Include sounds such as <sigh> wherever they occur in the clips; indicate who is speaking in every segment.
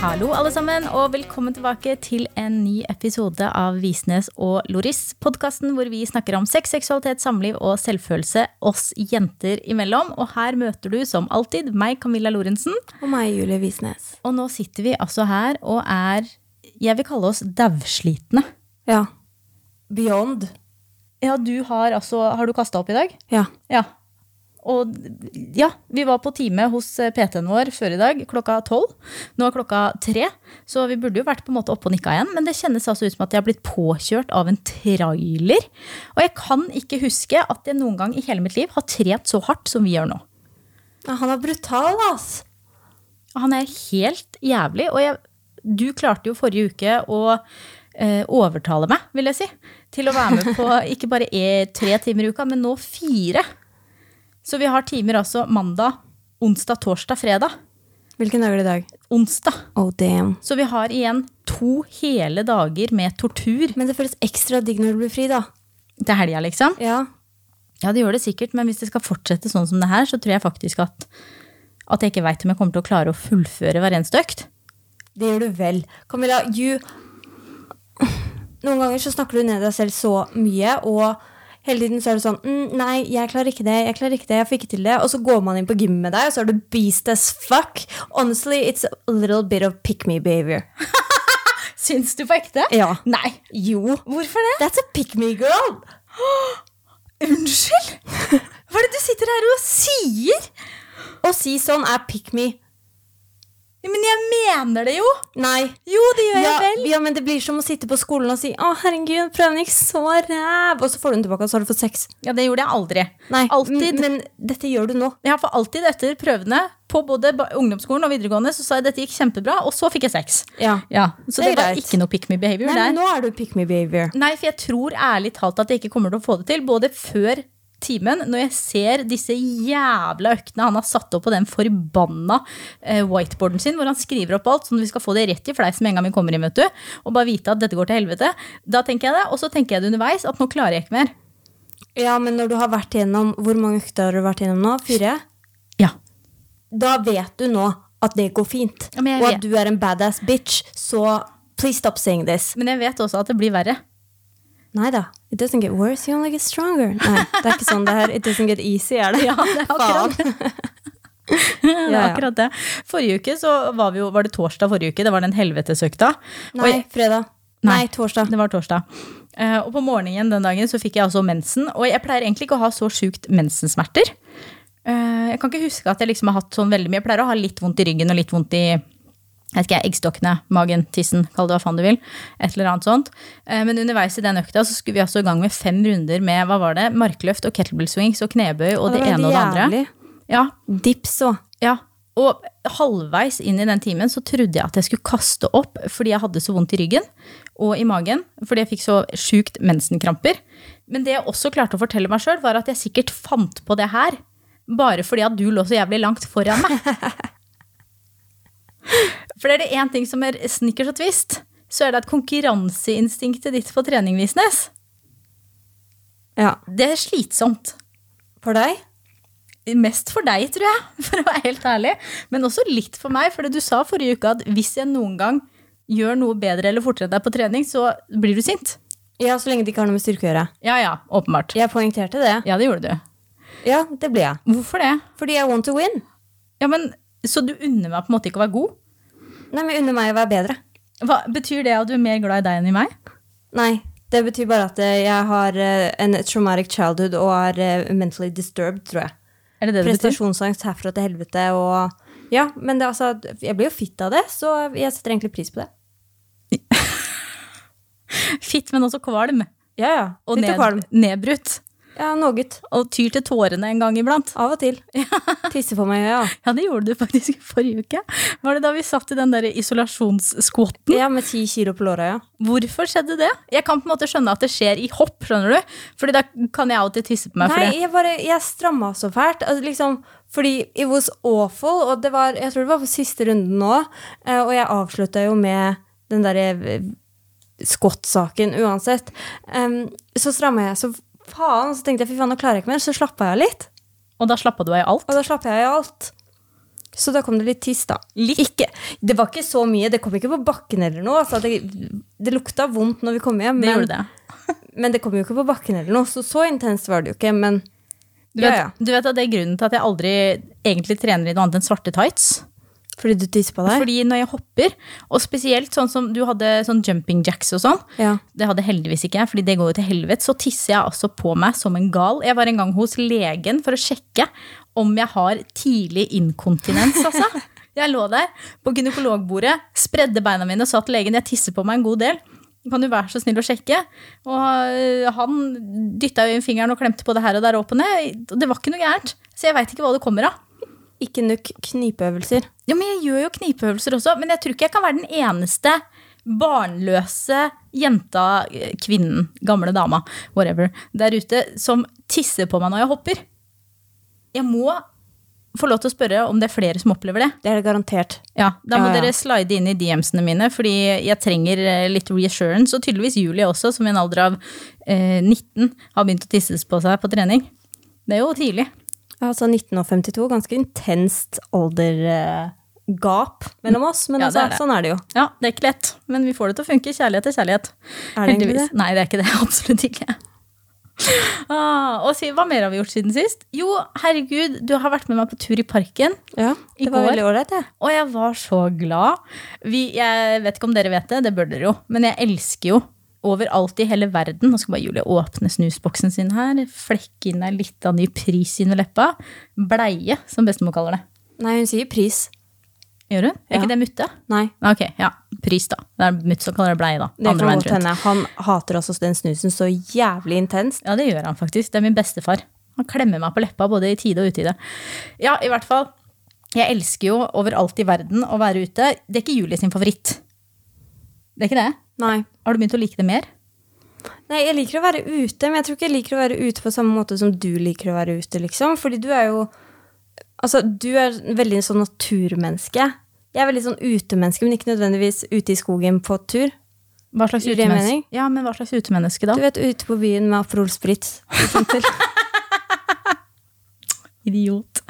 Speaker 1: Hallo, alle sammen, og velkommen tilbake til en ny episode av Visnes og Loris. Podkasten hvor vi snakker om sex, seksualitet, samliv og selvfølelse oss jenter imellom. Og her møter du som alltid meg, Camilla Lorentzen.
Speaker 2: Og meg, Julie Visnes.
Speaker 1: Og nå sitter vi altså her og er Jeg vil kalle oss dauslitne.
Speaker 2: Ja. Beyond.
Speaker 1: Ja, du har altså Har du kasta opp i dag?
Speaker 2: Ja.
Speaker 1: Ja. Og ja, vi var på time hos PT-en vår før i dag, klokka tolv. Nå er klokka tre, så vi burde jo vært på en måte oppe og nikka igjen. Men det kjennes altså ut som at jeg har blitt påkjørt av en trailer. Og jeg kan ikke huske at jeg noen gang i hele mitt liv har trent så hardt som vi gjør nå.
Speaker 2: Ja, Han er brutal, ass!
Speaker 1: Han er helt jævlig. Og jeg, du klarte jo forrige uke å eh, overtale meg, vil jeg si, til å være med <laughs> på ikke bare e tre timer i uka, men nå fire. Så vi har timer altså mandag, onsdag, torsdag, fredag.
Speaker 2: Hvilken dag er det i dag?
Speaker 1: Onsdag.
Speaker 2: Oh, damn.
Speaker 1: Så vi har igjen to hele dager med tortur
Speaker 2: Men det føles ekstra digg når du blir fri, da.
Speaker 1: til helga, liksom.
Speaker 2: Ja.
Speaker 1: Ja, det gjør det sikkert, men hvis det skal fortsette sånn som det her, så tror jeg faktisk at, at jeg ikke veit om jeg kommer til å klare å fullføre hver eneste økt.
Speaker 2: Det gjør du vel. Camilla, you Noen ganger så snakker du ned deg selv så mye, og hele tiden så er du sånn mm, Nei, jeg klarer ikke det, jeg klarer ikke det, jeg får ikke til det. Og så går man inn på gym med deg, og så er du beast as fuck. Honestly, it's a little bit of pick me behavior.
Speaker 1: Syns du på ekte?
Speaker 2: Ja.
Speaker 1: Nei.
Speaker 2: Jo.
Speaker 1: Hvorfor det?
Speaker 2: That's a pick me girl!
Speaker 1: Unnskyld! Hva er det du sitter her og sier?
Speaker 2: Å si sånn er pick me.
Speaker 1: Men jeg mener det jo!
Speaker 2: Nei.
Speaker 1: Jo, det gjør
Speaker 2: Ja,
Speaker 1: jeg vel.
Speaker 2: ja, men det blir som å sitte på skolen og si 'Å, herregud, prøven gikk så ræv', og så får du den tilbake, og så har du fått sex.
Speaker 1: Ja, det gjorde jeg aldri.
Speaker 2: Nei,
Speaker 1: Alltid.
Speaker 2: m- Men dette gjør du nå.
Speaker 1: Jeg har for alltid etter prøvene på både ba- ungdomsskolen og videregående så sa jeg dette gikk kjempebra, og så fikk jeg sex.
Speaker 2: Ja.
Speaker 1: Ja, Så
Speaker 2: Det
Speaker 1: det,
Speaker 2: er
Speaker 1: var
Speaker 2: greit.
Speaker 1: ikke noe pick me behavior
Speaker 2: Nei, men
Speaker 1: der.
Speaker 2: nå er du pick me behavior.
Speaker 1: Nei, for jeg tror ærlig talt at jeg ikke kommer til å få det til, både før timen, når jeg ser disse jævla øktene han har satt opp på den forbanna eh, whiteboarden sin, hvor han skriver opp alt, sånn at vi skal få det rett i fleisen med en gang vi kommer inn, vet du, og bare vite at dette går til helvete. Da tenker jeg det, og så tenker jeg det underveis, at nå klarer jeg ikke mer.
Speaker 2: Ja, men når du har vært gjennom Hvor mange økter har du vært gjennom nå? Fire?
Speaker 1: Ja.
Speaker 2: Da vet du nå at det går fint.
Speaker 1: Ja, men jeg
Speaker 2: og
Speaker 1: vet-
Speaker 2: at du er en badass bitch, så please stop saying this.
Speaker 1: Men jeg vet også at det blir verre.
Speaker 2: Nei da. It doesn't get worse, you only get stronger. Nei, det er ikke sånn det er. It doesn't get easy, er
Speaker 1: <laughs>
Speaker 2: det?
Speaker 1: Ja, det er akkurat
Speaker 2: <laughs> Faen.
Speaker 1: Det
Speaker 2: Ja,
Speaker 1: er
Speaker 2: ja.
Speaker 1: akkurat det. Forrige uke så var, vi jo, var det torsdag forrige uke. Det var den helvetesøkta. Og
Speaker 2: Nei,
Speaker 1: jeg-
Speaker 2: fredag.
Speaker 1: Nei.
Speaker 2: Nei, torsdag.
Speaker 1: Det var torsdag. Eh, og på morgenen den dagen så fikk jeg altså mensen. Og jeg pleier egentlig ikke å ha så sjukt mensensmerter. Eh, jeg kan ikke huske at jeg liksom har hatt sånn veldig mye. Jeg pleier å ha litt vondt i ryggen og litt vondt i jeg vet ikke, eggstokkene, magen, tissen, kall det hva faen du vil. Et eller annet sånt. Eh, Men underveis i den økta så skulle vi altså i gang med fem runder med hva var det, markløft og kettlebell swings og knebøy og det,
Speaker 2: var
Speaker 1: ene og det andre.
Speaker 2: jævlig.
Speaker 1: Ja,
Speaker 2: Dips òg.
Speaker 1: Ja, og halvveis inn i den timen så trodde jeg at jeg skulle kaste opp fordi jeg hadde så vondt i ryggen og i magen, fordi jeg fikk så sjukt mensenkramper. Men det jeg også klarte å fortelle meg sjøl, var at jeg sikkert fant på det her bare fordi at du lå så jævlig langt foran meg. <laughs> For er det én ting som er snickers og twist, så er det at konkurranseinstinktet ditt på trening, Visnes,
Speaker 2: Ja.
Speaker 1: det er slitsomt.
Speaker 2: For deg?
Speaker 1: Mest for deg, tror jeg, <laughs> for å være helt ærlig. Men også litt for meg, for du sa forrige uke at hvis jeg noen gang gjør noe bedre eller fortere enn deg på trening, så blir du sint.
Speaker 2: Ja, så lenge det ikke har noe med styrke å gjøre.
Speaker 1: Ja ja, åpenbart.
Speaker 2: Jeg poengterte det.
Speaker 1: Ja, det gjorde du.
Speaker 2: Ja, det ble jeg.
Speaker 1: Hvorfor det?
Speaker 2: Fordi jeg want to win.
Speaker 1: Ja, men Så du unner meg på en måte ikke å være god?
Speaker 2: Nei, men under meg å være bedre.
Speaker 1: Hva, betyr det at du er mer glad i deg enn i meg?
Speaker 2: Nei, det betyr bare at eh, jeg har eh, en traumatic childhood og er eh, mentally disturbed, tror jeg.
Speaker 1: Er det det det betyr?
Speaker 2: Prestasjonsangst herfra til helvete og Ja, men det, er altså, jeg blir jo fitt av det, så jeg setter egentlig pris på det.
Speaker 1: <laughs> Fitt, men også kvalm.
Speaker 2: Ja, ja.
Speaker 1: Og
Speaker 2: Fitt og kvalm.
Speaker 1: ned, nedbrutt.
Speaker 2: Ja, noe.
Speaker 1: Og tyr til tårene en gang iblant. <laughs>
Speaker 2: Av og til. Tisse på meg, ja.
Speaker 1: Ja, det gjorde du faktisk i forrige uke. Var det da vi satt i den der isolasjonsskvotten?
Speaker 2: Ja, med ti kilo på låra, ja.
Speaker 1: Hvorfor skjedde det? Jeg kan på en måte skjønne at det skjer i hopp, skjønner du? Fordi da kan jeg alltid tisse på meg for
Speaker 2: Nei,
Speaker 1: det.
Speaker 2: jeg bare, jeg stramma så fælt. Altså, liksom, fordi it was awful, og det var, jeg tror det var på siste runden nå. eh, Og jeg avslutta jo med den derre skott-saken uansett. Em, så stramma jeg så faen, så tenkte jeg fy faen, nå klarer jeg ikke mer. Så slappa jeg av litt.
Speaker 1: Og da slappa du av i alt?
Speaker 2: Og da slappa jeg av alt. Så da kom det litt tiss, da.
Speaker 1: Litt.
Speaker 2: Ikke, det var ikke så mye. Det kom ikke på bakken eller noe. Altså, det, det lukta vondt når vi kom hjem,
Speaker 1: Det
Speaker 2: men
Speaker 1: gjorde det.
Speaker 2: <laughs> men det kom jo ikke på bakken eller noe. Så så intenst var det jo ikke. Men
Speaker 1: Du vet,
Speaker 2: ja, ja.
Speaker 1: du vet at det er grunnen til at jeg aldri egentlig trener i noe annet enn svarte tights?
Speaker 2: Fordi du tisser på deg?
Speaker 1: Fordi når jeg hopper, og spesielt sånn som du hadde sånn jumping jacks og sånn,
Speaker 2: Ja.
Speaker 1: det hadde heldigvis ikke jeg, fordi det går jo til helvete, så tisser jeg altså på meg som en gal. Jeg var en gang hos legen for å sjekke om jeg har tidlig inkontinens, altså. Jeg lå der på gynekologbordet, spredde beina mine og sa til legen jeg tisser på meg en god del. Kan du være så snill å sjekke? Og øh, han dytta jo inn fingeren og klemte på det her og der opp og ned. og Det var ikke noe gærent. Så jeg veit ikke hva det kommer av.
Speaker 2: Ikke nok knipeøvelser.
Speaker 1: Ja, men jeg gjør jo knipeøvelser også, men jeg tror ikke jeg kan være den eneste barnløse jenta, eh, kvinnen, gamle dama, whatever, der ute som tisser på meg når jeg hopper. Jeg må få lov til å spørre om det er flere som opplever det.
Speaker 2: Det er det garantert.
Speaker 1: Ja, Da må
Speaker 2: Ja, ja.
Speaker 1: dere slide inn i DMs-ene mine, fordi jeg trenger eh, litt reassurance. Og tydeligvis Julie også, som i en alder av eh, 19 har begynt å tisses på seg på trening. Det er jo tidlig.
Speaker 2: Altså 1952, ganske intenst aldergap mellom oss. Men
Speaker 1: Ja,
Speaker 2: altså,
Speaker 1: det er det.
Speaker 2: sånn er det jo.
Speaker 1: Ja, det er ikke lett, men vi får det til å funke. Kjærlighet til kjærlighet.
Speaker 2: Er det egentlig
Speaker 1: Heldigvis. Nei, det er ikke det. <laughs> Absolutt ikke. Ah, og si, hva mer har vi gjort siden sist? Jo, herregud, du har vært med meg på tur i parken.
Speaker 2: Ja,
Speaker 1: I
Speaker 2: det var
Speaker 1: går-
Speaker 2: veldig ålreit, det.
Speaker 1: Og jeg var så glad. Vi, jeg vet ikke om dere vet det, det bør dere jo. Men jeg elsker jo overalt i hele verden. Nå skal bare Julie åpne snusboksen sin her. Flekke inn ei lita ny pris under leppa. Bleie, som bestemor kaller det.
Speaker 2: Nei, hun sier pris.
Speaker 1: Gjør hun? Er
Speaker 2: Ja.
Speaker 1: ikke det mutte?
Speaker 2: Nei.
Speaker 1: Ok, ja. Pris, da. Det er mutt som kaller det bleie, da.
Speaker 2: Det
Speaker 1: Andre
Speaker 2: kan
Speaker 1: veien
Speaker 2: godt
Speaker 1: rundt.
Speaker 2: hende. E. Han hater også den snusen så jævlig intenst.
Speaker 1: Ja, det gjør han faktisk. Det er min bestefar. Han klemmer meg på leppa både i tide og utide. Ja, i hvert fall. Jeg elsker jo overalt i verden å være ute. Det er ikke Julie sin favoritt. Det er ikke det?
Speaker 2: Nei.
Speaker 1: Har du begynt å like det mer?
Speaker 2: Nei, jeg liker å være ute, men jeg tror ikke jeg liker å være ute på samme måte som du liker å være ute, liksom. Fordi du er jo Altså, du er veldig sånn naturmenneske. Jeg er veldig sånn utemenneske, men ikke nødvendigvis ute i skogen på tur.
Speaker 1: Hva slags
Speaker 2: Gir det
Speaker 1: utemennes-
Speaker 2: mening?
Speaker 1: Ja, men hva slags utemenneske da?
Speaker 2: Du vet, ute på byen med Aperol Spritz. for
Speaker 1: <laughs>
Speaker 2: eksempel.
Speaker 1: Idiot.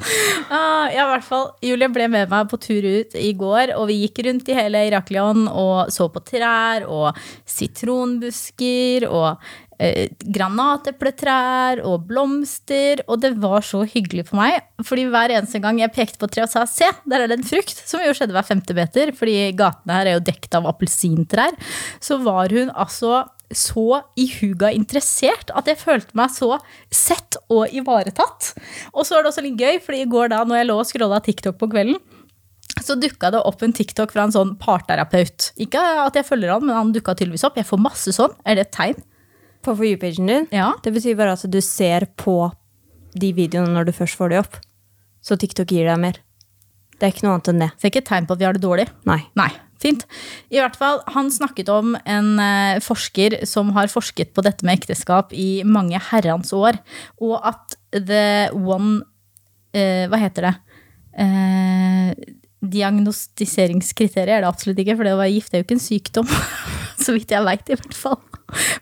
Speaker 1: Ah, ja, i hvert fall. Julie ble med meg på tur ut i går, og vi gikk rundt i hele Iraklion og så på trær og sitronbusker og eh, granatepletrær og blomster, og det var så hyggelig for meg. Fordi hver eneste gang jeg pekte på et tre og sa 'se, der er det en frukt', som jo skjedde hver femte meter, fordi gatene her er jo dekt av appelsintrær, så var hun altså så ihuga interessert at jeg følte meg så sett og ivaretatt. Og så var det også litt gøy, fordi i går da når jeg lå og scrolla TikTok på kvelden, så dukka det opp en TikTok fra en sånn parterapeut. Ikke at jeg følger han, men han dukka tydeligvis opp. Jeg får masse sånn. Er det et tegn?
Speaker 2: På For you-pagen din.
Speaker 1: Ja.
Speaker 2: Det betyr bare at du ser på de videoene når du først får de opp. Så TikTok gir deg mer. Det er ikke noe annet enn det.
Speaker 1: Så det er ikke et tegn på at vi har det dårlig.
Speaker 2: Nei.
Speaker 1: Nei. Fint. I hvert fall, Han snakket om en eh, forsker som har forsket på dette med ekteskap i mange herrens år, og at the one eh, Hva heter det? Eh, diagnostiseringskriteriet er det absolutt ikke, for det å være gift er jo ikke en sykdom. <laughs> så vidt jeg veit, i hvert fall.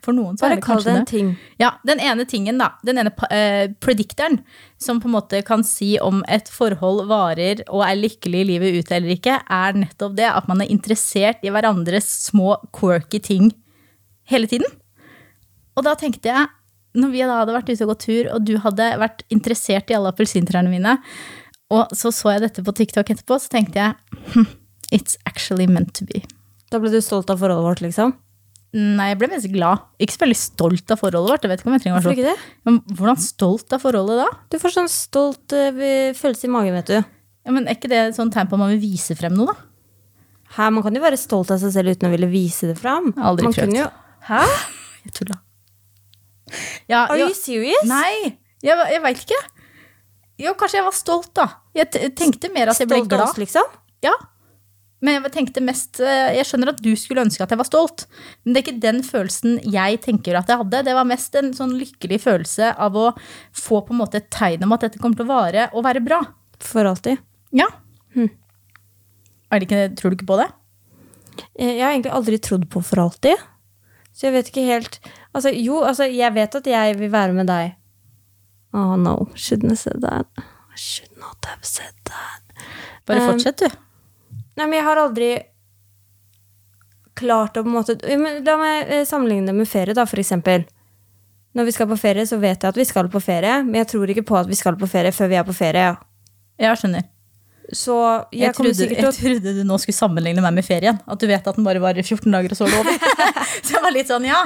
Speaker 1: For noen så er
Speaker 2: Bare
Speaker 1: det
Speaker 2: kall
Speaker 1: kanskje
Speaker 2: det en
Speaker 1: det.
Speaker 2: ting.
Speaker 1: Ja, den ene tingen da, den ene pa- eh, predictoren, som på en måte kan si om et forhold varer og er lykkelig i livet ut eller ikke, er nettopp det at man er interessert i hverandres små quirky ting hele tiden. Og da tenkte jeg, når vi da hadde vært ute og gått tur, og du hadde vært interessert i alle appelsintrærne mine, og så så jeg dette på TikTok etterpå, så tenkte jeg, hm, it's actually meant to be. Mm,
Speaker 2: Da ble du stolt av forholdet vårt, liksom?
Speaker 1: Nei, jeg ble mest glad. Ikke så veldig stolt av forholdet vårt, jeg vet ikke om jeg trenger å være
Speaker 2: Hvorfor
Speaker 1: så
Speaker 2: ikke det?
Speaker 1: men hvordan stolt er forholdet da?
Speaker 2: Du får sånn stolt eh, følelse i magen, vet du.
Speaker 1: Ja, men er ikke det et sånt tegn på at man vil vise frem noe, da?
Speaker 2: Hæ, man kan jo være stolt av seg selv uten å ville vise det fram.
Speaker 1: Aldri <laughs>
Speaker 2: man
Speaker 1: prøvd.
Speaker 2: kunne Jo... Hæ?
Speaker 1: Jeg tulla. Ja,
Speaker 2: Are
Speaker 1: jo-
Speaker 2: you serious?
Speaker 1: Nei, jeg, var- jeg veit ikke. Jo, kanskje jeg var stolt, da. Jeg t tenkte mer at jeg ble
Speaker 2: Stolt av oss,
Speaker 1: glad.
Speaker 2: liksom?
Speaker 1: Ja. Men jeg tenkte mest eh, Jeg skjønner at du skulle ønske at jeg var stolt, men det er ikke den følelsen jeg tenker at jeg hadde. Det var mest en sånn lykkelig følelse av å få på en måte et tegn om at dette kommer til å vare og være bra.
Speaker 2: For alltid.
Speaker 1: Ja. Hm. Er det ikke, tror du ikke på det?
Speaker 2: Eh, Jeg har egentlig aldri trodd på for alltid. Så jeg vet ikke helt Altså, jo, altså, jeg vet at jeg vil være med deg. Oh no, shouldn't have said that. I should not have said that.
Speaker 1: Bare
Speaker 2: Um,
Speaker 1: fortsett, du.
Speaker 2: Nei, men jeg har aldri klart å på en måte Jo, men La meg eh, sammenligne det med ferie, da, for eksempel. Når vi skal på ferie, så vet jeg at vi skal på ferie, men jeg tror ikke på at vi skal på ferie før vi er på ferie.
Speaker 1: Jeg skjønner.
Speaker 2: Så jeg,
Speaker 1: Jeg,
Speaker 2: kommer
Speaker 1: trodde,
Speaker 2: sikkert til
Speaker 1: jeg
Speaker 2: å
Speaker 1: trodde du nå skulle sammenligne meg med ferien. At du vet at den bare varer 14 dager, og så er
Speaker 2: <laughs>
Speaker 1: det over. <laughs> så jeg var litt sånn, ja.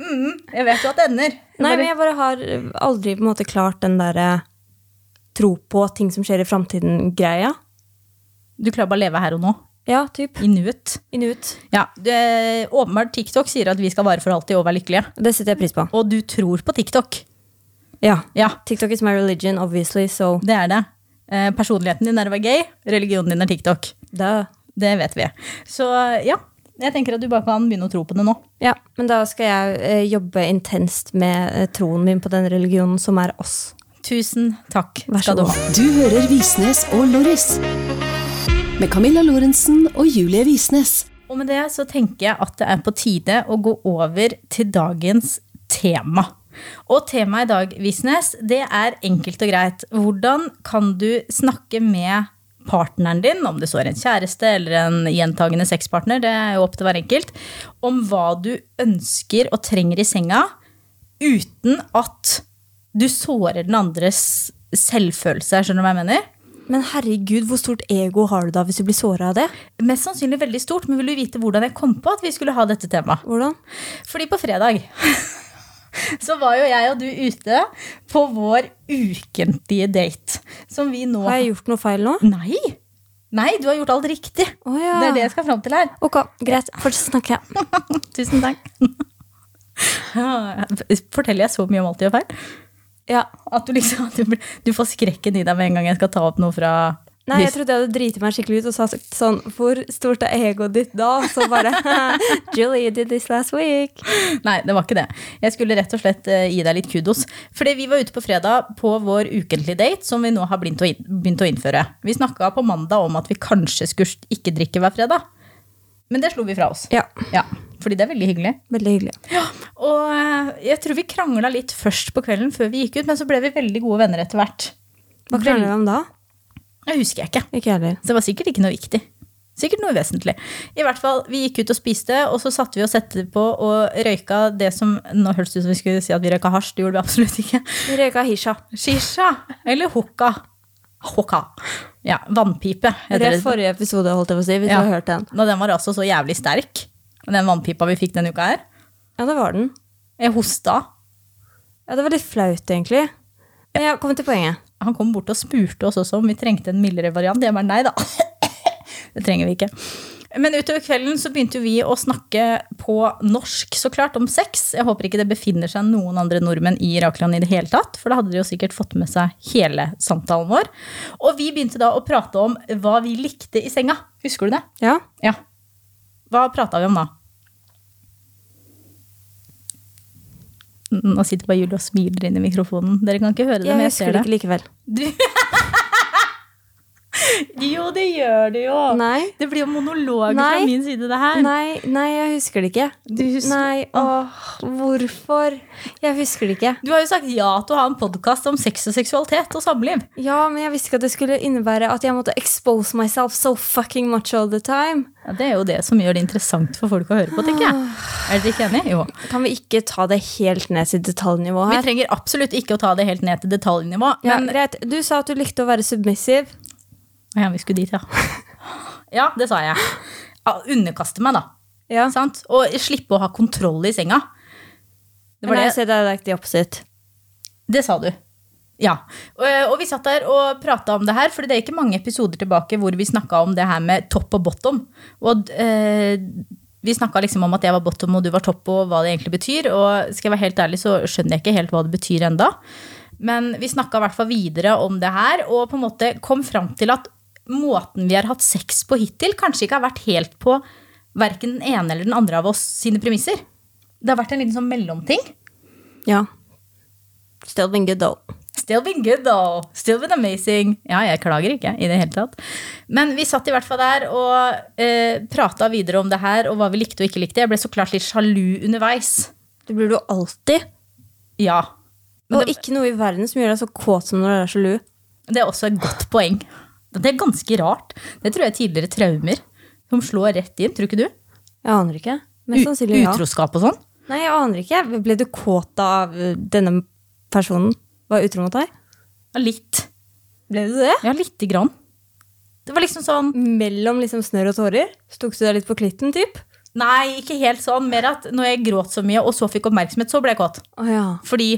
Speaker 1: Mm, jeg vet jo at det ender. Jeg
Speaker 2: Nei,
Speaker 1: bare-
Speaker 2: men jeg bare har eh, aldri på en måte klart den derre tro på ting som skjer i framtiden-greia.
Speaker 1: Du klarer bare å leve her og nå.
Speaker 2: Ja, typ.
Speaker 1: I nuet.
Speaker 2: Inuit.
Speaker 1: Ja, det, åpenbart TikTok sier at vi skal vare for alltid og være lykkelige.
Speaker 2: Det setter jeg pris på.
Speaker 1: Og du tror på TikTok.
Speaker 2: Ja.
Speaker 1: Ja,
Speaker 2: TikTok is my religion, obviously, so
Speaker 1: det er det. Eh, personligheten din er å være gay, religionen din er TikTok.
Speaker 2: da
Speaker 1: Det vet vi. Så ja, jeg tenker at du bare kan begynne å tro på det nå.
Speaker 2: Ja, men da skal jeg eh, jobbe intenst med eh, troen min på den religionen som er oss.
Speaker 1: Tusen takk
Speaker 2: Vær så
Speaker 1: skal du
Speaker 2: god.
Speaker 1: ha.
Speaker 3: Du hører Visnes og Loris. Med Camilla Lorentzen og Julie Visnes.
Speaker 1: Og med det så tenker jeg at det er på tide å gå over til dagens tema. Og temaet i dag, Visnes, det er enkelt og greit. Hvordan kan du snakke med partneren din, om det så er en kjæreste eller en gjentagende sexpartner, det er jo opp til hver enkelt, om hva du ønsker og trenger i senga, uten at du sårer den andres selvfølelse. Skjønner du hva jeg mener?
Speaker 2: Men herregud, hvor stort ego har du da hvis du blir såra av det?
Speaker 1: Mest sannsynlig veldig stort, men vil du vite hvordan jeg kom på at vi skulle ha dette temaet?
Speaker 2: Hvordan?
Speaker 1: Fordi på fredag <laughs> så var jo jeg og du ute på vår ukentlige date. Som vi nå
Speaker 2: Har jeg gjort noe feil nå?
Speaker 1: Nei! Nei, du har gjort alt riktig.
Speaker 2: Å ja.
Speaker 1: Det er det jeg skal fram til her. <laughs>
Speaker 2: Ok, greit. Fortsett å snakke.
Speaker 1: Tusen takk. <laughs> Forteller jeg så mye om alt du gjør feil?
Speaker 2: Ja.
Speaker 1: At du liksom du, blir- du får skrekken i deg med en gang jeg skal ta opp noe fra
Speaker 2: Nei, jeg trodde jeg hadde driti meg skikkelig ut og sagt sånn Hvor stort er egoet ditt da? Så bare <laughs> Julie, you did this last week.
Speaker 1: Nei, det var ikke det. Jeg skulle rett og slett eh, gi deg litt kudos. Fordi vi var ute på fredag på vår ukentlige date, som vi nå har begynt å, inn- begynt å innføre. Vi snakka på mandag om at vi kanskje skulle ikke drikke hver fredag. Men det slo vi fra oss.
Speaker 2: Ja.
Speaker 1: Ja, fordi det er veldig hyggelig.
Speaker 2: Veldig hyggelig.
Speaker 1: Og eh, jeg tror vi krangla litt først på kvelden før vi gikk ut, men så ble vi veldig gode venner etter hvert.
Speaker 2: Hva krangler vi om da?
Speaker 1: Det husker jeg ikke.
Speaker 2: Ikke jeg heller.
Speaker 1: Så det var sikkert ikke noe viktig. Sikkert noe vesentlig. I hvert fall, Vi gikk ut og spiste, og så satte vi oss etterpå og røyka det som Nå høres det ut som vi skulle si at vi røyka hasj, det gjorde vi absolutt ikke.
Speaker 2: Vi røyka hisha.
Speaker 1: Shisha eller hoka. Hoka. Ja, vannpipe. heter
Speaker 2: Rett
Speaker 1: det.
Speaker 2: forrige episode, holdt jeg på å si, hvis
Speaker 1: Ja.
Speaker 2: du har hørt den.
Speaker 1: Og den var altså så jævlig sterk, den vannpipa vi fikk denne uka her.
Speaker 2: Ja, det var den.
Speaker 1: Jeg hosta.
Speaker 2: Ja, det var litt flaut, egentlig. Men jeg kommer til poenget.
Speaker 1: Han kom bort og spurte oss også om vi trengte en mildere variant. Jeg bare nei da. <laughs> Det trenger vi ikke. Men utover kvelden så begynte jo vi å snakke på norsk, så klart, om sex. Jeg håper ikke det befinner seg noen andre nordmenn i Irakland i det hele tatt, for da hadde de jo sikkert fått med seg hele samtalen vår. Og vi begynte da å prate om hva vi likte i senga. Husker du det?
Speaker 2: Ja.
Speaker 1: Ja. Hva prata vi om da? Nå sitter bare Julie og smiler inn i mikrofonen. Dere kan ikke høre det,
Speaker 2: Jeg
Speaker 1: men jeg
Speaker 2: husker
Speaker 1: ser det.
Speaker 2: det ikke likevel.
Speaker 1: Jo, det gjør det jo.
Speaker 2: Nei.
Speaker 1: Det blir jo monologer
Speaker 2: Nei.
Speaker 1: fra min side, det her.
Speaker 2: Nei, nei, jeg husker det ikke.
Speaker 1: Du, husker,
Speaker 2: Nei, åh, hvorfor? Jeg husker det ikke.
Speaker 1: du har jo sagt ja til å ha en podkast om sex og seksualitet og samliv.
Speaker 2: Ja, men jeg visste ikke at det skulle innebære at jeg måtte expose myself so fucking much all the time.
Speaker 1: Ja, det er jo det som gjør det interessant for folk å høre på, tenker jeg.
Speaker 2: Ah.
Speaker 1: Er dere ikke enig? Jo.
Speaker 2: Kan vi ikke ta det helt ned til detaljnivå
Speaker 1: Vi
Speaker 2: her?
Speaker 1: trenger absolutt ikke å ta det helt ned til detaljnivå.
Speaker 2: Ja,
Speaker 1: Men
Speaker 2: greit. Du sa at du likte å være submissiv.
Speaker 1: ja, vi skulle
Speaker 2: <laughs>
Speaker 1: dit, ja. Ja, det sa jeg. Ja, underkaste meg, da.
Speaker 2: Ja.
Speaker 1: Sant? Og slippe å ha kontroll i senga. Det var
Speaker 2: Nei,
Speaker 1: det
Speaker 2: se, det er like the opposite.
Speaker 1: Det sa du. Ja. Og, og vi satt der og prata om det her, for det er ikke mange episoder tilbake hvor vi snakka om det her med topp og bottom. Og eh, vi snakka liksom om at jeg var bottom og du var topp, og hva det egentlig betyr. Og skal jeg være helt ærlig, så skjønner jeg ikke helt hva det betyr enda. Men vi snakka i hvert fall videre om det her, og på en måte kom fram til at måten vi har hatt sex på hittil, kanskje ikke har vært helt på verken den ene eller den andre av oss sine premisser. Det har vært en liten sånn mellomting.
Speaker 2: Ja. Still been good, though.
Speaker 1: Still been good, though. Still been amazing. Ja, jeg klager ikke i det hele tatt. Men vi satt i hvert fall der og eh, prata videre om det her og hva vi likte og ikke likte. Jeg ble så klart litt sjalu underveis.
Speaker 2: Det blir du alltid.
Speaker 1: Ja. Men
Speaker 2: og ikke noe i verden som gjør deg så kåt som når du er sjalu.
Speaker 1: Det er også et godt poeng. Det er ganske rart. Det tror jeg er tidligere traumer som slår rett inn, tror ikke du?
Speaker 2: Jeg aner ikke.
Speaker 1: U
Speaker 2: Mest sannsynlig ja.
Speaker 1: utroskap og sånn.
Speaker 2: Nei, jeg aner ikke. Ble du kåt av uh, denne personen? Var utro mot deg?
Speaker 1: Ja, litt.
Speaker 2: Ble du det?
Speaker 1: Ja, lite grann. Det var liksom sånn
Speaker 2: Mellom liksom snørr og tårer? Stok du deg litt på klitten, typ?
Speaker 1: Nei, ikke helt sånn. Mer at når jeg gråt så mye og så fikk oppmerksomhet, så ble jeg kåt.
Speaker 2: Å ja.
Speaker 1: Fordi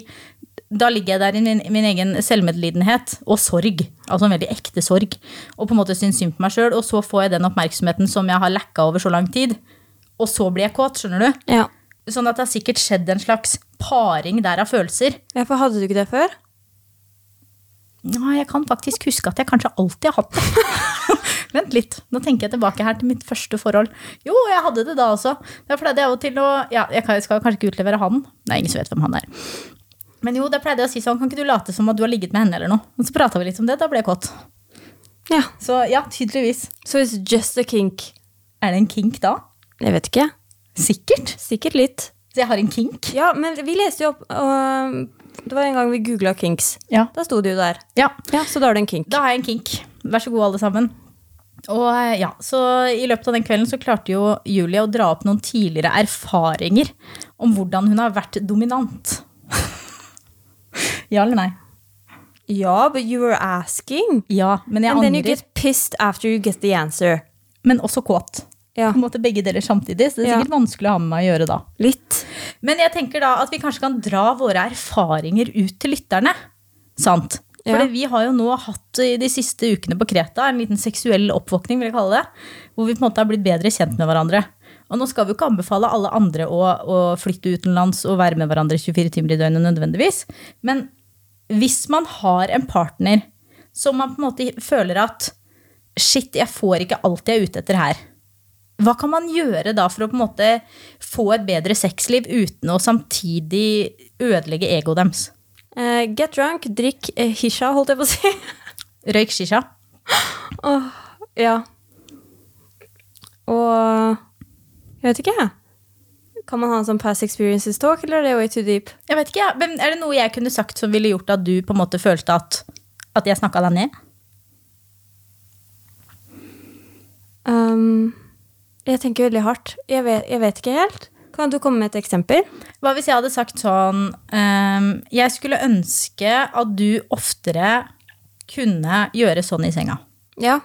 Speaker 1: da ligger jeg der i min, min egen selvmedlidenhet og sorg. Altså en veldig ekte sorg. Og på en måte syns synd på meg sjøl. Og så får jeg den oppmerksomheten som jeg har lekka over så lang tid. Og så blir jeg kåt, skjønner du.
Speaker 2: ja.
Speaker 1: Sånn at det har sikkert skjedd en slags paring der av følelser.
Speaker 2: Ja, for hadde du ikke det før?
Speaker 1: Nei, jeg kan faktisk huske at jeg kanskje alltid har hatt det. <laughs> Vent litt, nå tenker jeg tilbake her til mitt første forhold. Jo, jeg hadde det da også. Da pleide jeg av og til å Ja, jeg kan- jeg skal kanskje ikke utlevere han. Det er ingen som vet hvem han er. Men jo, da pleide jeg å si sånn, kan ikke du late som at du har ligget med henne eller noe? Og så prata vi litt om det, da ble jeg kåt.
Speaker 2: Ja.
Speaker 1: Så ja, tydeligvis.
Speaker 2: So it's just a kink.
Speaker 1: Er det en kink da?
Speaker 2: Jeg vet ikke.
Speaker 1: Sikkert.
Speaker 2: Sikkert litt.
Speaker 1: Så jeg har en kink?
Speaker 2: Ja, men vi leste jo opp øh, Det var en gang vi googla kinks.
Speaker 1: Ja.
Speaker 2: Da sto det jo der.
Speaker 1: ja.
Speaker 2: Ja, Så da er det en kink.
Speaker 1: Da har jeg en kink. Vær så god, alle sammen. Og eh, ja, så I løpet av den kvelden så klarte jo Julie å dra opp noen tidligere erfaringer om hvordan hun har vært dominant. <laughs> ja eller nei?
Speaker 2: Ja, but you were asking.
Speaker 1: Ja, men jeg
Speaker 2: And then you
Speaker 1: angrer.
Speaker 2: get pissed after you get the answer.
Speaker 1: Men også kåt.
Speaker 2: Ja,
Speaker 1: På en måte begge deler samtidig, så det er
Speaker 2: Ja.
Speaker 1: sikkert vanskelig å ha med meg å gjøre da.
Speaker 2: litt.
Speaker 1: Men jeg tenker da at vi kanskje kan dra våre erfaringer ut til lytterne. Sant?
Speaker 2: Ja.
Speaker 1: Fordi vi har jo nå hatt i de siste ukene på Kreta en liten seksuell oppvåkning, vil jeg kalle det. Hvor vi på en måte har blitt bedre kjent med hverandre. Og nå skal vi jo ikke anbefale alle andre å, å flytte utenlands og være med hverandre 24 timer i døgnet nødvendigvis. Men hvis man har en partner som man på en måte føler at shit, jeg får ikke alt jeg er ute etter her. Hva kan man gjøre da for å på en måte få et bedre sexliv uten å samtidig ødelegge egoet deres?
Speaker 2: Eh, get drunk, drikk eh, hisha, holdt jeg på å si. <laughs>
Speaker 1: Røyk shisha.
Speaker 2: ja. Og Jeg vet ikke, jeg. Kan man ha en sånn past experiences talk, eller er det way too deep?
Speaker 1: Jeg vet ikke, ja. men Er det noe jeg kunne sagt som ville gjort at du på en måte følte at, at jeg snakka deg ned?
Speaker 2: Um, jeg tenker veldig hardt. Jeg vet, jeg vet ikke helt. Kan du komme med et eksempel?
Speaker 1: Hva hvis jeg hadde sagt sånn ehm, Jeg skulle ønske at du oftere kunne gjøre sånn i senga.
Speaker 2: Ja.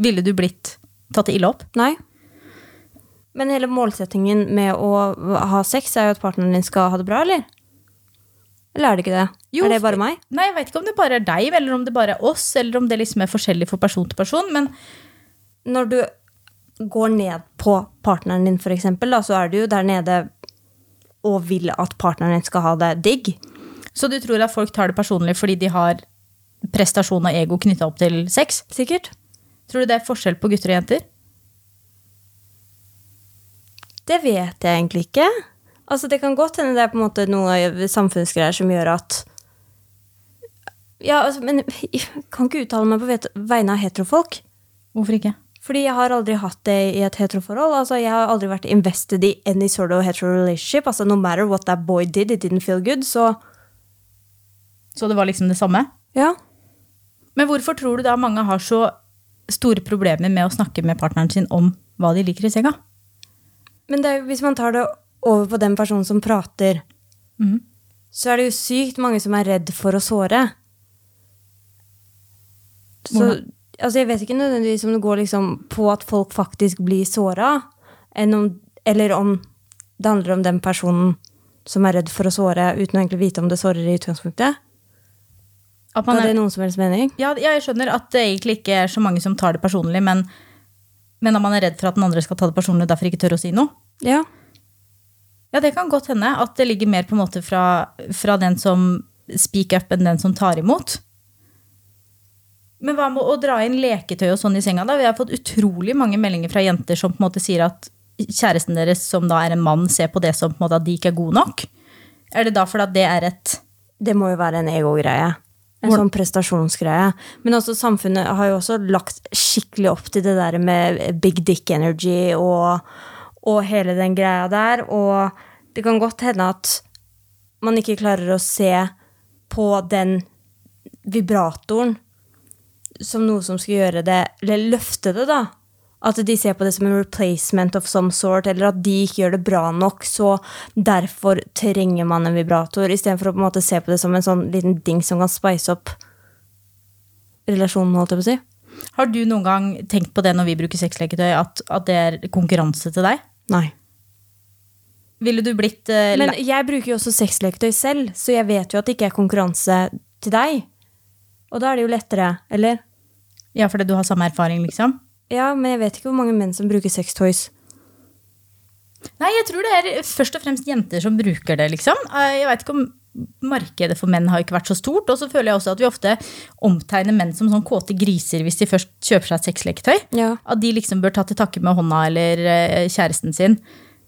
Speaker 1: Ville du blitt tatt ille opp?
Speaker 2: Nei. Men hele målsettingen med å ha sex er jo at partneren din skal ha det bra, eller? Eller er det ikke det?
Speaker 1: Jo,
Speaker 2: er det bare meg?
Speaker 1: Nei, jeg vet ikke om det bare er deg, eller om det bare er oss, eller om det liksom er forskjellig for person til person. Men
Speaker 2: Når du går ned på partneren din, for eksempel, da, så er du jo der nede og vil at partneren din skal ha det digg.
Speaker 1: Så du tror at folk tar det personlig fordi de har prestasjon og ego knytta opp til sex?
Speaker 2: Sikkert.
Speaker 1: Tror du det er forskjell på gutter og jenter?
Speaker 2: Det vet jeg egentlig ikke. Altså, det kan godt hende det er på en måte noe samfunnsgreier som gjør at Ja, altså, men <laughs> jeg kan ikke uttale meg på vet- vegne av heterofolk.
Speaker 1: Hvorfor ikke?
Speaker 2: Fordi jeg har aldri hatt det i et heteroforhold. Altså, jeg har aldri vært invested i any sort of hetero relationship. Altså, no matter what that boy did, it didn't feel good. Så
Speaker 1: Så det var liksom det samme?
Speaker 2: ja.
Speaker 1: Men hvorfor tror du da mange har så store problemer med å snakke med partneren sin om hva de liker i senga?
Speaker 2: Men det er, jo- hvis man tar det over på den personen som prater,
Speaker 1: Mhm.
Speaker 2: så er det jo sykt mange som er redd for å såre. Så,
Speaker 1: Hvordan?
Speaker 2: altså jeg vet ikke nødvendigvis om det går liksom på at folk faktisk blir såra, eller om det handler om den personen som er redd for å såre uten å egentlig vite om det sårer i utgangspunktet.
Speaker 1: At man
Speaker 2: Har
Speaker 1: er,
Speaker 2: det noen som helst mening?
Speaker 1: ja, ja, jeg skjønner at det egentlig ikke er så mange som tar det personlig, men, men at man er redd for at den andre skal ta det personlig og derfor ikke tør å si noe?
Speaker 2: Ja.
Speaker 1: Ja, det kan godt hende at det ligger mer på en måte fra, fra den som speak up enn den som tar imot. Men hva med å dra inn leketøy og sånn i senga? da? Vi har fått utrolig mange meldinger fra jenter som på en måte sier at kjæresten deres, som da er en mann, ser på det som på en måte at de ikke er gode nok. Er det da fordi at det er et
Speaker 2: Det må jo være en ego-greie. En sånn prestasjonsgreie. Men også samfunnet har jo også lagt skikkelig opp til det der med big dick energy og, og hele den greia der. Og det kan godt hende at man ikke klarer å se på den vibratoren som noe som skal gjøre det, eller løfte det, da. At de ser på det som en replacement of some sort, eller at de ikke gjør det bra nok, så derfor trenger man en vibrator, istedenfor å på en måte se på det som en sånn liten ding som kan spice opp relasjonen, holdt jeg på å si.
Speaker 1: Har du noen gang tenkt på det når vi bruker sexleketøy, at, at det er konkurranse til deg?
Speaker 2: Nei.
Speaker 1: Ville du blitt eh,
Speaker 2: Men
Speaker 1: lei-
Speaker 2: jeg bruker jo også sexleketøy selv, så jeg vet jo at det ikke er konkurranse til deg. Og da er det jo lettere, eller?
Speaker 1: Ja, fordi du har samme erfaring, liksom?
Speaker 2: Ja, men jeg vet ikke hvor mange menn som bruker sextoys.
Speaker 1: Nei, jeg tror det er først og fremst jenter som bruker det, liksom. Eh, Jeg vet ikke om markedet for menn har ikke vært så stort. Og så føler jeg også at vi ofte omtegner menn som sånn kåte griser hvis de først kjøper seg et sexleketøy.
Speaker 2: Ja.
Speaker 1: At de liksom bør ta til takke med hånda eller eh, kjæresten sin,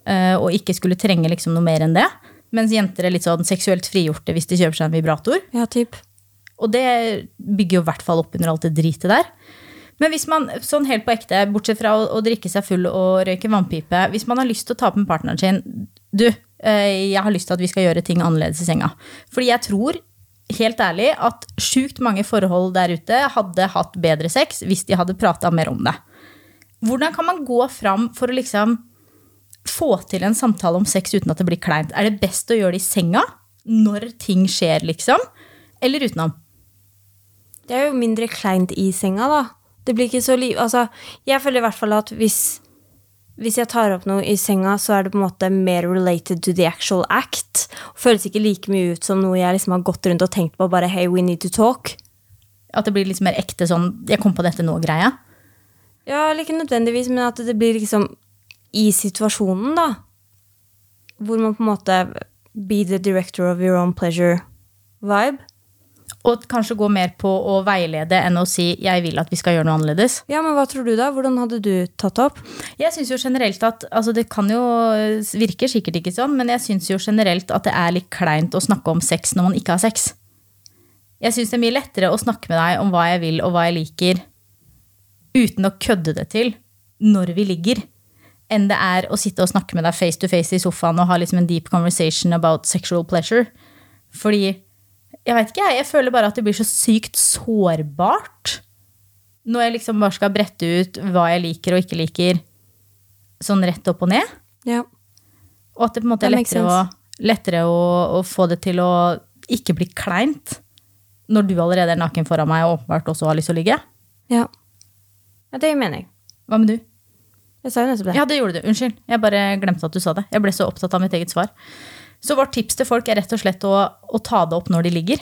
Speaker 1: eh, og ikke skulle trenge liksom noe mer enn det. Mens jenter er litt sånn seksuelt frigjorte hvis de kjøper seg en vibrator.
Speaker 2: Ja, typ.
Speaker 1: Og det bygger jo i hvert fall opp under alt det dritet der. Men hvis man sånn helt på ekte, bortsett fra å, å drikke seg full og røyke vannpipe Hvis man har lyst til å ta opp med partneren sin Du, eh, jeg har lyst til at vi skal gjøre ting annerledes i senga. Fordi jeg tror, helt ærlig, at sjukt mange forhold der ute hadde hatt bedre sex hvis de hadde prata mer om det. Hvordan kan man gå fram for å liksom få til en samtale om sex uten at det blir kleint? Er det best å gjøre det i senga? Når ting skjer, liksom? Eller utenom?
Speaker 2: Det er jo mindre kleint i senga, da. Det blir ikke så liv... Altså, jeg føler i hvert fall at hvis, hvis jeg tar opp noe i senga, så er det på en måte mer related to the actual act. Føles ikke like mye ut som noe jeg liksom har gått rundt og tenkt på, bare hey, we need to talk.
Speaker 1: At det blir litt mer ekte sånn 'jeg kom på dette nå'-greie.
Speaker 2: Ja, eller ikke nødvendigvis, men at det blir liksom i situasjonen, da. Hvor man på en måte be the director of your own pleasure-vibe.
Speaker 1: Og kanskje gå mer på å veilede enn å si 'jeg vil at vi skal gjøre noe annerledes'.
Speaker 2: Ja, men hva tror du, da? Hvordan hadde du tatt opp?
Speaker 1: Jeg synes jo generelt at, altså Det kan jo virker sikkert ikke sånn, men jeg syns jo generelt at det er litt kleint å snakke om sex når man ikke har sex. Jeg syns det er mye lettere å snakke med deg om hva jeg vil og hva jeg liker, uten å kødde det til når vi ligger, enn det er å sitte og snakke med deg face to face i sofaen og ha liksom en deep conversation about sexual pleasure. Fordi Jeg vet ikke, jeg. Jeg føler bare at det blir så sykt sårbart når jeg liksom bare skal brette ut hva jeg liker og ikke liker, sånn rett opp og ned.
Speaker 2: Ja.
Speaker 1: Og at det på en måte
Speaker 2: Det
Speaker 1: er
Speaker 2: makes
Speaker 1: lettere, å, lettere å, å få det til å ikke bli kleint når du allerede er naken foran meg og åpenbart også har lyst til å ligge.
Speaker 2: Ja. ja det mener jeg.
Speaker 1: Hva med du?
Speaker 2: Jeg sa jo nettopp det.
Speaker 1: Ja, det gjorde du. Unnskyld. Jeg bare glemte at du sa det. Jeg ble så opptatt av mitt eget svar. Så vårt tips til folk er rett og slett å, å ta det opp når de ligger.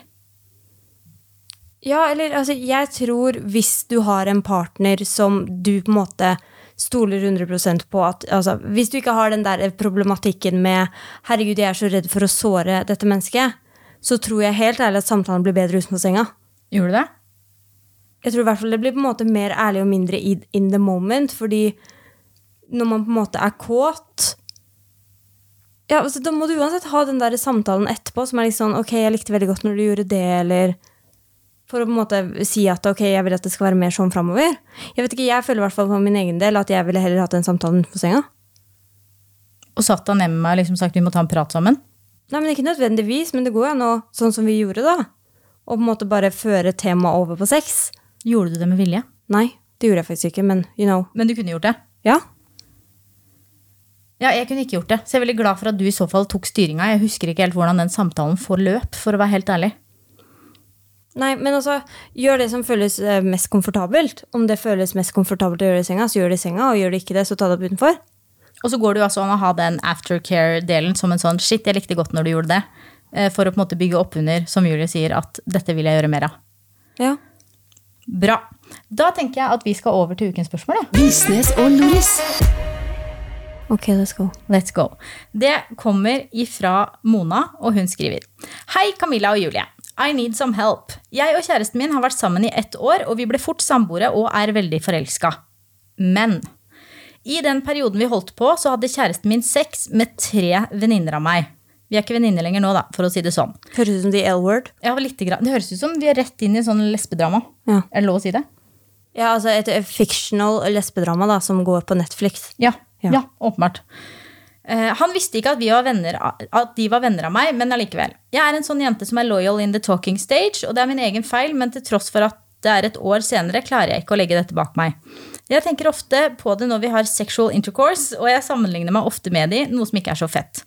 Speaker 2: Ja, eller altså, jeg tror hvis du har en partner som du på en måte stoler 100 på at altså, Hvis du ikke har den der problematikken med 'herregud, jeg er så redd for å såre dette mennesket', så tror jeg helt ærlig at samtalen blir bedre utenfor senga.
Speaker 1: Gjorde du det?
Speaker 2: Jeg tror i hvert fall det blir på en måte mer ærlig og mindre i, in the moment, fordi når man på en måte er kåt ja, altså, Da må du uansett ha den der samtalen etterpå som er litt sånn 'ok, jeg likte veldig godt når du gjorde det', eller For å på en måte si at 'ok, jeg vil at det skal være mer sånn framover'. Jeg vet ikke, jeg føler i hvert fall for min egen del at jeg ville heller hatt den samtalen utenfor senga.
Speaker 1: Og satt han ned med meg og liksom sagt vi må ta en prat sammen.
Speaker 2: Nei, men Ikke nødvendigvis, men det går jo an å, sånn som vi gjorde, da. Og på en måte bare føre temaet over på sex.
Speaker 1: Gjorde du det med vilje?
Speaker 2: Nei, det gjorde jeg faktisk ikke, men you know.
Speaker 1: Men du kunne gjort det.
Speaker 2: Ja.
Speaker 1: Ja, jeg kunne ikke gjort det. Så jeg er veldig glad for at du i så fall tok styringa. Jeg husker ikke helt hvordan den samtalen forløp, for å være helt ærlig.
Speaker 2: Nei, men altså, gjør det som føles eh, mest komfortabelt. Om det føles mest komfortabelt å gjøre det i senga, så gjør det i senga. Og gjør det ikke det, så ta det opp utenfor.
Speaker 1: Og så går det jo altså an å ha den aftercare-delen som en sånn shit, jeg likte godt når du gjorde det. eh, For å på en måte bygge opp under, som Julie sier, at dette vil jeg gjøre mer av.
Speaker 2: Ja.
Speaker 1: Bra. Da tenker jeg at vi skal over til ukens spørsmål. jeg.
Speaker 3: Visnes og Loris.
Speaker 2: Ok, let's go.
Speaker 1: Let's go. Det kommer ifra Mona, og hun skriver. Hei, Camilla og Julie. I need some help. Jeg og kjæresten min har vært sammen i ett år, og vi ble fort samboere og er veldig forelska. Men i den perioden vi holdt på, så hadde kjæresten min sex med tre venninner av meg. Vi er ikke venninner lenger nå, da, for å si det sånn.
Speaker 2: Høres ut som The L-word.
Speaker 1: Ja, litt grann. Det høres ut som vi er rett inn i sånn lesbedrama.
Speaker 2: Ja.
Speaker 1: Er det lov å si det?
Speaker 2: Ja, altså et et fictional lesbedrama da, som går på Netflix.
Speaker 1: Ja,
Speaker 2: Ja.
Speaker 1: ja. åpenbart. Eh, han visste ikke at, vi var venner, av- at de var venner av meg, men allikevel. Jeg er en sånn jente som er loyal in the talking stage, og det er min egen feil, men til tross for at det er et år senere, klarer jeg ikke å legge dette bak meg. Jeg tenker ofte på det når vi har sexual intercourse, og jeg sammenligner meg ofte med de, noe som ikke er så fett.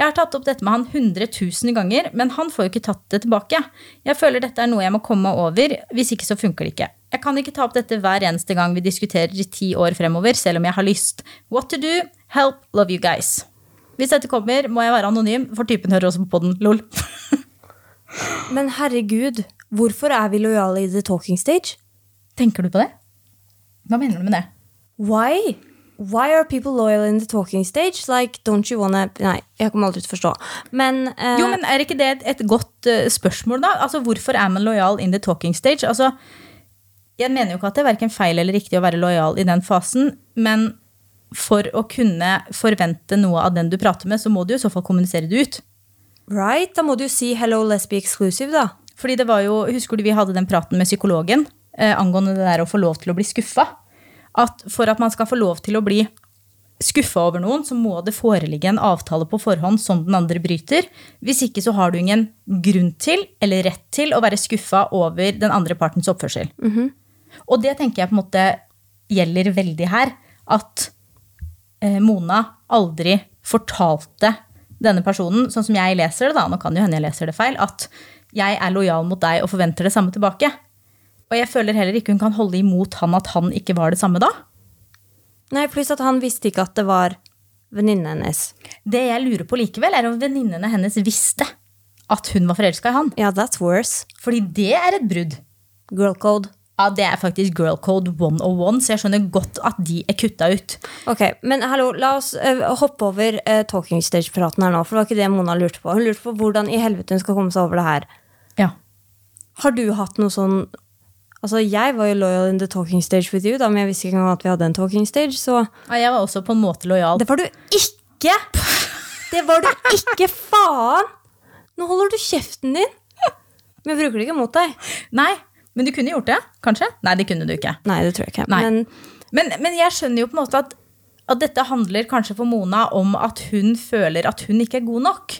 Speaker 1: Jeg har tatt opp dette med han 100 000 ganger, men han får jo ikke tatt det tilbake. Jeg føler dette er noe jeg må komme meg over, hvis ikke så funker det ikke. Jeg kan ikke ta opp dette hver eneste gang vi diskuterer i ti år fremover, selv om jeg har lyst. What to do? Help, love you guys. Hvis dette kommer, må jeg være anonym, for typen hører også på podden. Lol.
Speaker 2: Men herregud, hvorfor er vi lojale i the talking stage?
Speaker 1: <laughs> Tenker du på det? Hva mener du med det?
Speaker 2: Why? Why are people loyal in the talking stage? Like, don't you wanna Nei, jeg kommer aldri til å forstå. Men, eh,
Speaker 1: Jo, men er ikke det et, et godt eh, spørsmål, da? Altså, Hvorfor er man lojal in the talking stage? Altså, Jeg mener jo ikke at det er verken feil eller riktig å være lojal i den fasen, men for å kunne forvente noe av den du prater med, så må du jo i så fall kommunisere det ut.
Speaker 2: right? Da må du jo si 'hello, let's be exclusive', da.
Speaker 1: Fordi det var jo, Husker du vi hadde den praten med psykologen eh, angående det der å få lov til å bli skuffa? At for at man skal få lov til å bli skuffa over noen, så må det foreligge en avtale på forhånd som den andre bryter. Hvis ikke så har du ingen grunn til eller rett til å være skuffa over den andre partens oppførsel. Og det tenker jeg på en måte gjelder veldig her. At eh, Mona aldri fortalte denne personen, sånn som jeg leser det, da, nå kan det jo hende jeg leser det feil, at jeg er lojal mot deg og forventer det samme tilbake. Og jeg føler heller ikke hun kan holde imot han at han ikke var det samme da.
Speaker 2: Nei, pluss at han visste ikke at det var venninnen hennes.
Speaker 1: Det jeg lurer på likevel, er om venninnene hennes visste at hun var forelska i han.
Speaker 2: Ja, that's worse.
Speaker 1: Fordi det er et brudd.
Speaker 2: Girl code.
Speaker 1: Ja, det er faktisk girl code 101, så jeg skjønner godt at de er kutta ut.
Speaker 2: Ok, men hallo, la oss eh, hoppe over eh, talking stage-praten her nå, for det var ikke det Mona lurte på. Hun lurte på hvordan i helvete hun skal komme seg over det her.
Speaker 1: Ja.
Speaker 2: Har du hatt noe sånn Altså, jeg var jo loyal in the talking stage with you, da, men jeg visste ikke engang at vi hadde en talking stage, så
Speaker 1: Ja, Jeg var også på en måte lojal.
Speaker 2: Det var du ikke! Det var du ikke, faen! Nå holder du kjeften din! Men jeg bruker det ikke mot deg.
Speaker 1: Nei, men du kunne gjort det, kanskje? Nei, det kunne du ikke.
Speaker 2: Nei, det tror jeg ikke.
Speaker 1: Nei.
Speaker 2: Men
Speaker 1: Men, men jeg skjønner jo på en måte at, at dette handler kanskje for Mona om at hun føler at hun ikke er god nok.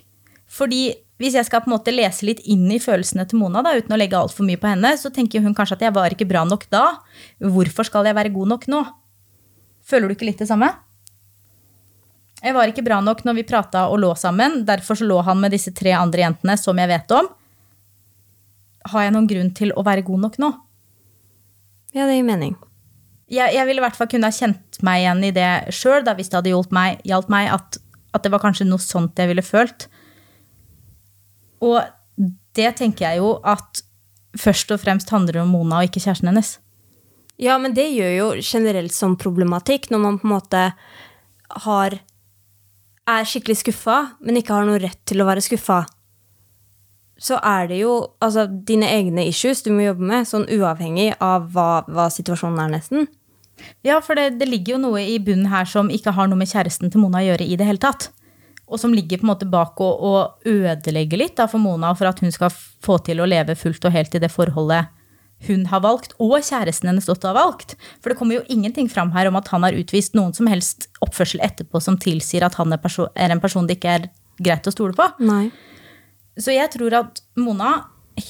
Speaker 1: Fordi hvis jeg skal på en måte lese litt inn i følelsene til Mona, da, uten å legge altfor mye på henne, så tenker hun kanskje at jeg var ikke bra nok da. Hvorfor skal jeg være god nok nå? Føler du ikke litt det samme? Jeg var ikke bra nok når vi prata og lå sammen. Derfor så lå han med disse tre andre jentene som jeg vet om. Har jeg noen grunn til å være god nok nå?
Speaker 2: ja, det gir mening.
Speaker 1: jeg, jeg ville i hvert fall kunne ha kjent meg igjen i det sjøl, hvis det hadde hjulpet meg, hjalp meg at, at det var kanskje noe sånt jeg ville følt. Og det tenker jeg jo at først og fremst handler det om Mona og ikke kjæresten hennes.
Speaker 2: Ja, men det gjør jo generelt som problematikk, når man på en måte har Er skikkelig skuffa, men ikke har noe rett til å være skuffa. Så er det jo altså, dine egne issues du må jobbe med, sånn uavhengig av hva, hva situasjonen er, nesten.
Speaker 1: Ja, for det, det ligger jo noe i bunnen her som ikke har noe med kjæresten til Mona å gjøre i det hele tatt. Og som ligger på en måte bak å, å ødelegge litt da, for Mona, for at hun skal få til å leve fullt og helt i det forholdet hun har valgt, og kjæresten hennes også har valgt. For det kommer jo ingenting fram her om at han har utvist noen som helst oppførsel etterpå som tilsier at han er, perso er en person det ikke er greit å stole på.
Speaker 2: Nei.
Speaker 1: Så jeg tror at Mona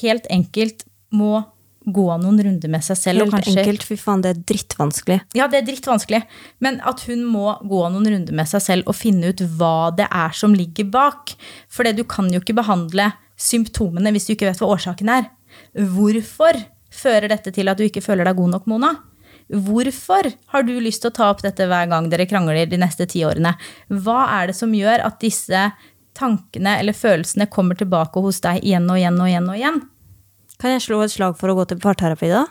Speaker 1: helt enkelt må gå noen runder med seg selv.
Speaker 2: Helt
Speaker 1: og kanskje
Speaker 2: enkelt. Fy faen, det er drittvanskelig.
Speaker 1: ja, det er drittvanskelig. Men at hun må gå noen runder med seg selv og finne ut hva det er som ligger bak. For det, du kan jo ikke behandle symptomene hvis du ikke vet hva årsaken er. Hvorfor fører dette til at du ikke føler deg god nok, Mona? Hvorfor har du lyst til å ta opp dette hver gang dere krangler de neste ti årene? Hva er det som gjør at disse tankene eller følelsene kommer tilbake hos deg igjen og igjen og igjen? og igjen?
Speaker 2: Kan jeg slå et slag for å gå til parterapi, da?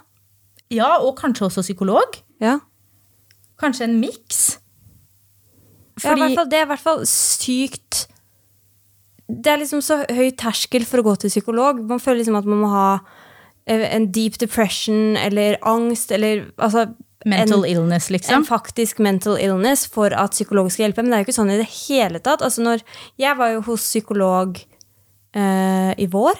Speaker 1: Ja, og kanskje også psykolog?
Speaker 2: Ja.
Speaker 1: Kanskje en miks?
Speaker 2: Ja, i
Speaker 1: Fordi-
Speaker 2: hvert fall, det er i hvert fall sykt Det er liksom så høy terskel for å gå til psykolog. Man føler liksom at man må ha eh, en deep depression eller angst eller altså
Speaker 1: Mental
Speaker 2: en,
Speaker 1: illness, liksom.
Speaker 2: En faktisk mental illness for at psykolog skal hjelpe. Men det er jo ikke sånn i det hele tatt. Altså når, jeg var jo hos psykolog eh, i vår,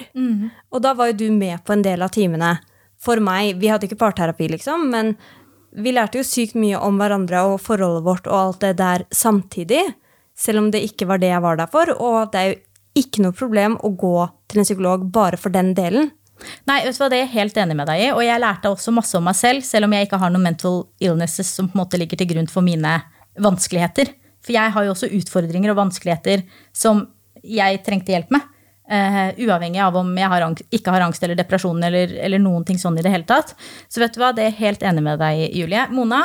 Speaker 2: og da var jo du med på en del av timene for meg. Vi hadde ikke parterapi, liksom, men vi lærte jo sykt mye om hverandre og forholdet vårt og alt det der samtidig. Selv om det ikke var det jeg var der for. Og det er jo ikke noe problem å gå til en psykolog bare for den delen.
Speaker 1: Nei, vet du hva, det er jeg helt enig med deg i. Og jeg lærte også masse om meg selv, selv om jeg ikke har noen mental illnesses som på en måte ligger til grunn for mine vanskeligheter. For jeg har jo også utfordringer og vanskeligheter som jeg trengte hjelp med. eh, uavhengig av om jeg har angst, ikke har angst eller depresjon eller, eller noen ting sånn i det hele tatt. Så vet du hva, det er jeg helt enig med deg, i, Julie. Mona,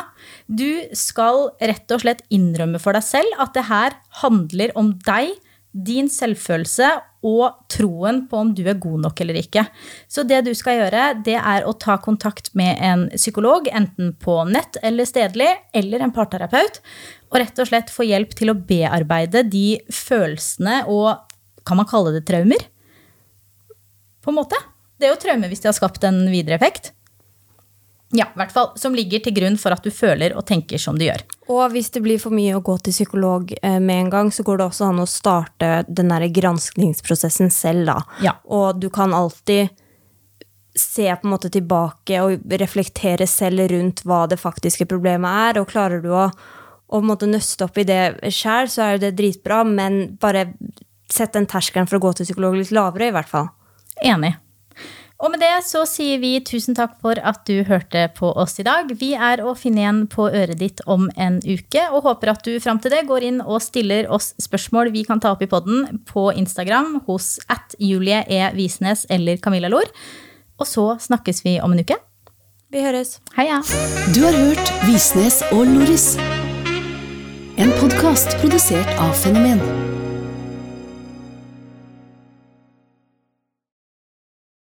Speaker 1: du skal rett og slett innrømme for deg selv at det her handler om deg din selvfølelse og troen på om du er god nok eller ikke. Så det du skal gjøre, det er å ta kontakt med en psykolog, enten på nett eller stedlig, eller en parterapeut, og rett og slett få hjelp til å bearbeide de følelsene og Kan man kalle det traumer? På en måte. Det er jo traumer hvis de har skapt en videre effekt. Ja, i hvert fall. Som ligger til grunn for at du føler og tenker som du gjør.
Speaker 2: Og hvis det blir for mye å gå til psykolog eh, med en gang, så går det også an å starte den der granskningsprosessen selv, da.
Speaker 1: Ja.
Speaker 2: Og du kan alltid se på en måte tilbake og reflektere selv rundt hva det faktiske problemet er, og klarer du å, å på en måte nøste opp i det sjæl, så er jo det dritbra, men bare sett den terskelen for å gå til psykolog litt lavere, i hvert fall.
Speaker 1: Enig. Og med det så sier vi tusen takk for at du hørte på oss i dag. Vi er å finne igjen på øret ditt om en uke, og håper at du fram til det går inn og stiller oss spørsmål vi kan ta opp i podden på Instagram hos at Julie E. Visnes eller Camilla Lor. Og så snakkes vi om en uke.
Speaker 2: Vi høres.
Speaker 1: Heia!
Speaker 3: Du har hørt Visnes og Loris. En podkast produsert av Fenomen.